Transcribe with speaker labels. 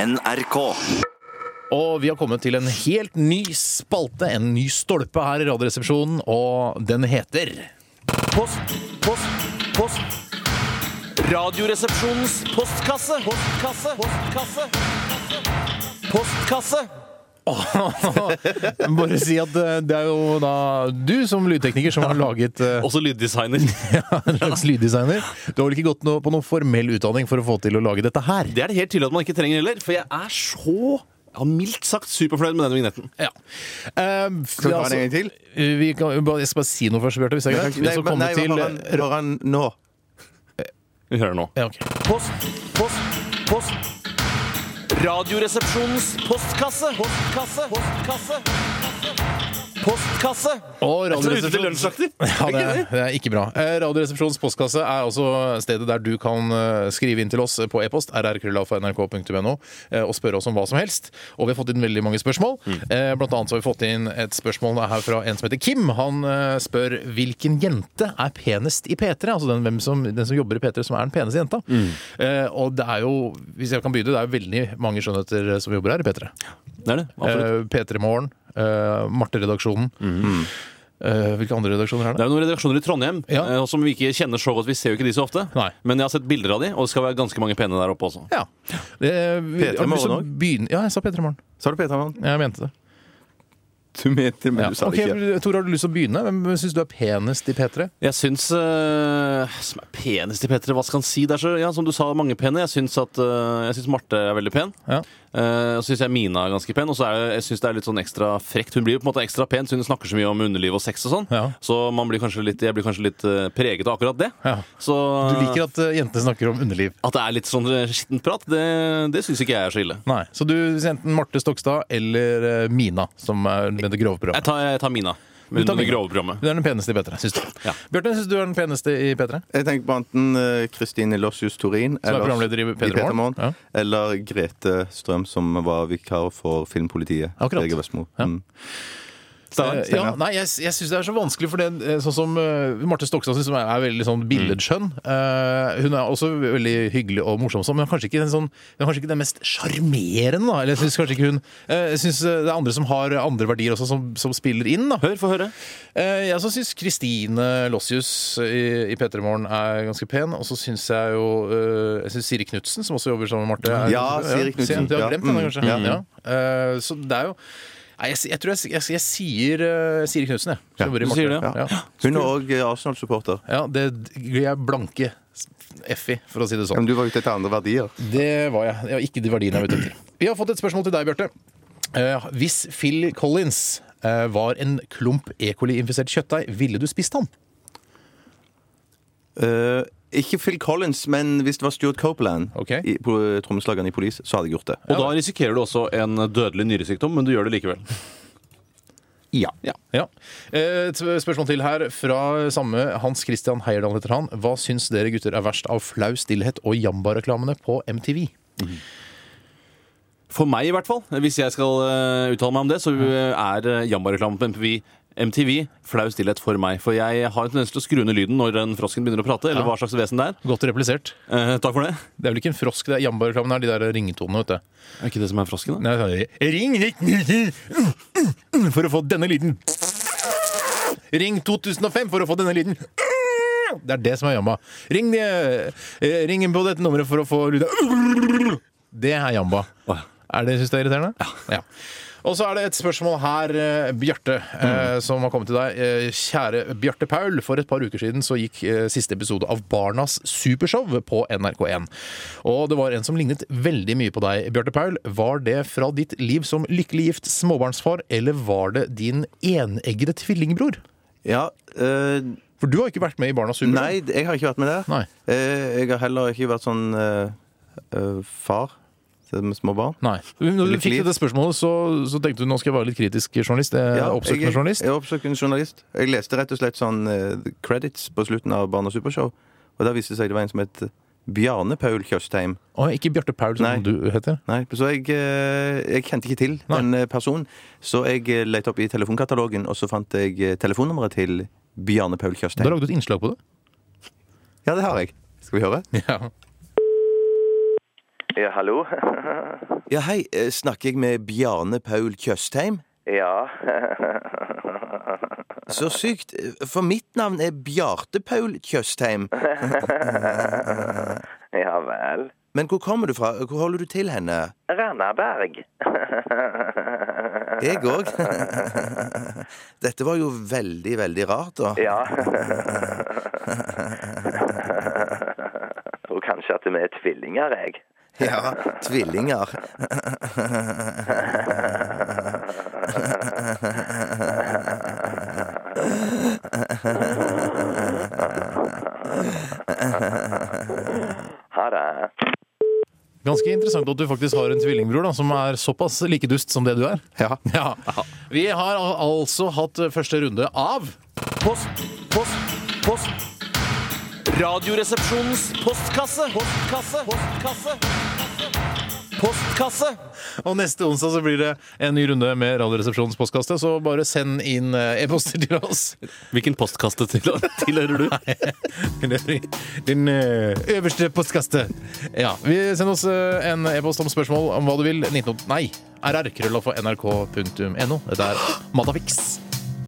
Speaker 1: NRK.
Speaker 2: Og vi har kommet til en helt ny spalte, en ny stolpe her i Radioresepsjonen, og den heter
Speaker 3: Post, post, post. Radioresepsjonens postkasse. Postkasse. Postkasse. Postkasse.
Speaker 2: Jeg må Bare si at eh, det er jo da du som lydtekniker som har laget eh,
Speaker 3: Også lyddesigner.
Speaker 2: ja, en slags lyddesigner. Du har vel ikke gått noe, på noen formell utdanning for å få til å lage dette her?
Speaker 3: Det er det helt tydelig at man ikke trenger heller, for jeg er så jeg har mildt sagt superfornøyd med denne vignetten.
Speaker 2: Ja. Eh,
Speaker 4: Skal vi ta
Speaker 2: altså,
Speaker 4: den en gang til?
Speaker 2: eh, vi kan, bare- jeg skal bare si noe først, Bjarte. Hvis det er greit? Vi
Speaker 4: Nei,
Speaker 2: har så
Speaker 4: men- nei,
Speaker 2: kommet til
Speaker 4: bare han-
Speaker 2: eh,
Speaker 4: bare han nå.
Speaker 3: Vi hører nå.
Speaker 2: ja, ok.
Speaker 3: Post, post, post. Radioresepsjonens postkasse. Postkasse. Postkasse. Postkasse.
Speaker 2: Og
Speaker 3: Jeg tror det er ute til
Speaker 2: Radioresepsjonen
Speaker 3: lunsjakter.
Speaker 2: Ja,
Speaker 3: Er
Speaker 2: det,
Speaker 3: ikke
Speaker 2: er-
Speaker 3: det?
Speaker 2: det er ikke bra. Eh, Radioresepsjonens postkasse er altså stedet der du kan eh, skrive inn til oss på e-post rrkrøllalfa.nrk.no eh, og spørre oss om hva som helst. Og vi har fått inn veldig mange spørsmål. Eh, Blant annet så har vi fått inn et spørsmål her fra en som heter Kim. Han eh, spør hvilken jente er penest i P3? Altså den, hvem som, den som jobber i P3 som er den peneste jenta. Eh, Og det er jo, hvis jeg kan begynne, det er jo veldig mange skjønnheter eh, som jobber her i P3.
Speaker 3: Det er det. Absolutt.
Speaker 2: Eh, P3 Morgen, eh, Marte-redaksjonen. Eh, Hvilke andre redaksjoner er det?
Speaker 3: Det er jo noen redaksjoner i Trondheim
Speaker 2: Ja.
Speaker 3: eh, som vi ikke kjenner så godt. Vi ser jo ikke de så ofte.
Speaker 2: Nei.
Speaker 3: Men jeg har sett bilder av de, og det skal være ganske mange pene der oppe også.
Speaker 2: Ja. Det, eh, vi, har du lyst
Speaker 4: P3
Speaker 2: til å
Speaker 4: Morgen også?
Speaker 2: begynne- Ja, jeg sa P3 Morgen.
Speaker 4: Sa du Peter Mann?
Speaker 2: Jeg mente det.
Speaker 4: Du mente det, men
Speaker 2: Ja.
Speaker 4: du sa
Speaker 2: Ok,
Speaker 4: det ikke.
Speaker 2: Tor, har du lyst til å begynne? Hvem syns du er penest i P3?
Speaker 3: Jeg syns eh, Som er penest i P3, hva skal han si? Det er så, ja, som du sa, mange pene. Jeg syns at eh, Jeg syns Marte er veldig pen.
Speaker 2: Ja.
Speaker 3: Eh, og så syns jeg Mina er ganske pen. Og så er det- jeg synes det er litt sånn ekstra frekt. Hun blir jo på en måte ekstra pen, så hun snakker så mye om underliv og sex og sånn.
Speaker 2: Ja.
Speaker 3: Så man blir kanskje litt, jeg blir kanskje litt eh, preget av akkurat det.
Speaker 2: Ja.
Speaker 3: Så
Speaker 2: Du
Speaker 4: Ah.
Speaker 2: liker at eh, jentene snakker om underliv.
Speaker 3: at det er litt sånn eh, skittent prat, det, det syns ikke jeg er så ille.
Speaker 2: Nei, Så du sier enten Marte Stokstad eller eh, Mina, som er med det grove
Speaker 3: Jeg
Speaker 2: programmet.
Speaker 3: tar, jeg tar Mina.
Speaker 2: Du
Speaker 3: Hun
Speaker 2: tar
Speaker 3: tar det
Speaker 2: Mina.
Speaker 3: grove programmet.
Speaker 2: Du er den peneste i P3, syns du.
Speaker 3: Ja.
Speaker 2: Bjarte, syns du er den peneste i P3?
Speaker 4: Jeg tenker på enten eh, Kristine Lossius
Speaker 2: Som
Speaker 4: Torin
Speaker 2: er
Speaker 4: eller-
Speaker 2: programleder i P3
Speaker 4: Peter
Speaker 2: Morgen.
Speaker 4: Morgen,
Speaker 2: Ja.
Speaker 4: Eller Grete Strøm, som var vikar for Filmpolitiet.
Speaker 2: Akkurat.
Speaker 4: Hege Vestmo.
Speaker 2: Ja.
Speaker 4: Mm.
Speaker 2: Eh,
Speaker 4: Steinar?
Speaker 2: Ja, nei, jeg, jeg syns det er så vanskelig, for det eh, sånn som eh, Marte Stokstad synes, som er, er veldig sånn billedskjønn. Eh, hun er også veldig hyggelig og morsom, sånn, men hun er kanskje ikke den, sånn, hun er kanskje ikke den mest sjarmerende. da. Eller Jeg syns kanskje ikke hun eh, Jeg syns eh, det er andre som har andre verdier også, som, som spiller inn. da
Speaker 3: Hør, få høre.
Speaker 2: Eh, Jeg så syns Kristine Lossius i, i P3 Morgen er ganske pen. Og så syns jeg jo eh, Jeg synes Siri Knutsen, som også jobber sammen med Marte er-
Speaker 4: Ja, Siri Knudsen.
Speaker 2: Du har
Speaker 4: Ja.
Speaker 2: glemt henne,
Speaker 4: Mm.
Speaker 2: kanskje? Ja, ja. Eh, Så det er jo Nei, jeg, si- jeg tror jeg, si- jeg, si- jeg sier eh, Siri Knutsen, jeg. Som jobber i
Speaker 3: du
Speaker 2: Marte.
Speaker 3: sier det,
Speaker 2: ja. Ja.
Speaker 4: Hun er òg Arsenal-supporter.
Speaker 2: ja, det gir jeg blanke f i, for å si det sånn.
Speaker 4: Men du var ute etter andre verdier.
Speaker 2: Det var jeg. Det var ikke de verdiene jeg var ute etter. Vi har fått et spørsmål til deg, Bjarte. Eh, hvis Phil Collins eh, var en klump E. coli-infisert kjøttdeig, ville du spist han?
Speaker 4: Eh, ikke Phil Collins, men hvis det var Stuart Copeland,
Speaker 2: Ok.
Speaker 4: i- på eh, trommeslageren i Police, så hadde jeg gjort det.
Speaker 3: Og da risikerer du også en dødelig nyresykdom, men du gjør det likevel.
Speaker 4: Ja.
Speaker 2: Ja. Eh, Et spørsmål til her fra samme Hans Christian Heierdal heter han. Hva syns dere gutter er verst av flau stillhet og Jamba-reklamene på MTV?
Speaker 3: For meg i hvert fall, hvis jeg skal eh, uttale meg om det, så eh, er eh, Jamba-reklamen på MTV MTV flau stillhet for meg. For jeg har en tendens til å skru ned lyden når en frosken begynner å prate, eller
Speaker 2: Ja.
Speaker 3: hva slags vesen det er.
Speaker 2: Godt replisert.
Speaker 3: Eh, takk for det.
Speaker 2: Det er vel ikke en frosk, det er Jamba-reklamen her, de der ringetonene, vet du.
Speaker 3: Er ikke det som er frosken, da?
Speaker 2: Nei, det er- Ring 1990 for å få denne lyden. Ring 2005 for å få denne lyden. Det er det som er jamba. Ring, eh, eh, ring inn på dette nummeret for å få lyden. Det er jamba.
Speaker 3: Åh, ja.
Speaker 2: Er det, synes du det er irriterende? Ja. Og så er det et spørsmål her, eh, Bjarte, eh, som har kommet til deg. Eh, Kjære Bjarte Paul, for et par uker siden så gikk eh, siste episode av Barnas Supershow på NRK1. Og det var en som lignet veldig mye på deg, Bjarte Paul. Var det fra ditt liv som lykkelig gift småbarnsfar, eller var det din eneggede tvillingbror?
Speaker 4: Ja, eh,
Speaker 2: For du har ikke vært med i Barnas Supershow.
Speaker 4: Nei, jeg har ikke vært med der.
Speaker 2: Nei.
Speaker 4: Eh, jeg har heller ikke vært sånn eh, eh, far til små barn.
Speaker 2: Nei. Når du
Speaker 4: Lykkelig
Speaker 2: fikk
Speaker 4: gift.
Speaker 2: dette spørsmålet, så, så tenkte du nå skal jeg være litt kritisk journalist. eh,
Speaker 4: Ja,
Speaker 2: oppsøkende
Speaker 4: jeg,
Speaker 2: journalist.
Speaker 4: Jeg er oppsøkende journalist. Jeg leste rett og slett sånn eh, credits på slutten av Barnas Supershow, og der viste det seg det var en som het Bjarne Paul Tjøstheim.
Speaker 2: Å, ikke Bjarte Paul, som
Speaker 4: Nei.
Speaker 2: du heter.
Speaker 4: Nei, så jeg, eh, jeg kjente ikke til
Speaker 2: Nei.
Speaker 4: den eh, personen, så jeg eh, lette opp i telefonkatalogen, og så fant jeg eh, telefonnummeret til Bjarne Paul
Speaker 2: Da
Speaker 4: Tjøstheim.
Speaker 2: lagde du et innslag på det.
Speaker 4: Ja, det har jeg. Skal vi høre?
Speaker 2: Ja.
Speaker 1: Ja, hallo?
Speaker 4: Ja, hei. eh, Snakker jeg med Bjarne Paul Tjøstheim?
Speaker 1: ja.
Speaker 4: Så sykt. eh, For mitt navn er Bjarte Paul Tjøstheim.
Speaker 1: ja vel.
Speaker 4: Men hvor kommer du fra? Hvor holder du til henne?
Speaker 1: Randaberg.
Speaker 4: Jeg òg. Dette var jo veldig, veldig rart, da.
Speaker 1: ja. Og kanskje at vi er tvillinger, jeg.
Speaker 4: Ja, tvillinger.
Speaker 1: Ha det.
Speaker 2: Ganske interessant at du faktisk har en tvillingbror da, som er såpass like dust som det du er.
Speaker 4: Ja.
Speaker 2: Vi har al- altså hatt første runde av
Speaker 3: Post, post, post. Radioresepsjonens postkasse. Postkasse. Postkasse. Postkasse.
Speaker 2: Og neste onsdag så blir det en ny runde med Radioresepsjonens postkasse, så bare send inn eh, e-poster til oss.
Speaker 3: Hvilken postkasse til- tilhører du?
Speaker 2: Den eh, øverste postkasse. Ja, vi sender oss eh, en e-post om spørsmål om hva du vil. 19... Nei, rr.nrk.no. Dette er Matafix.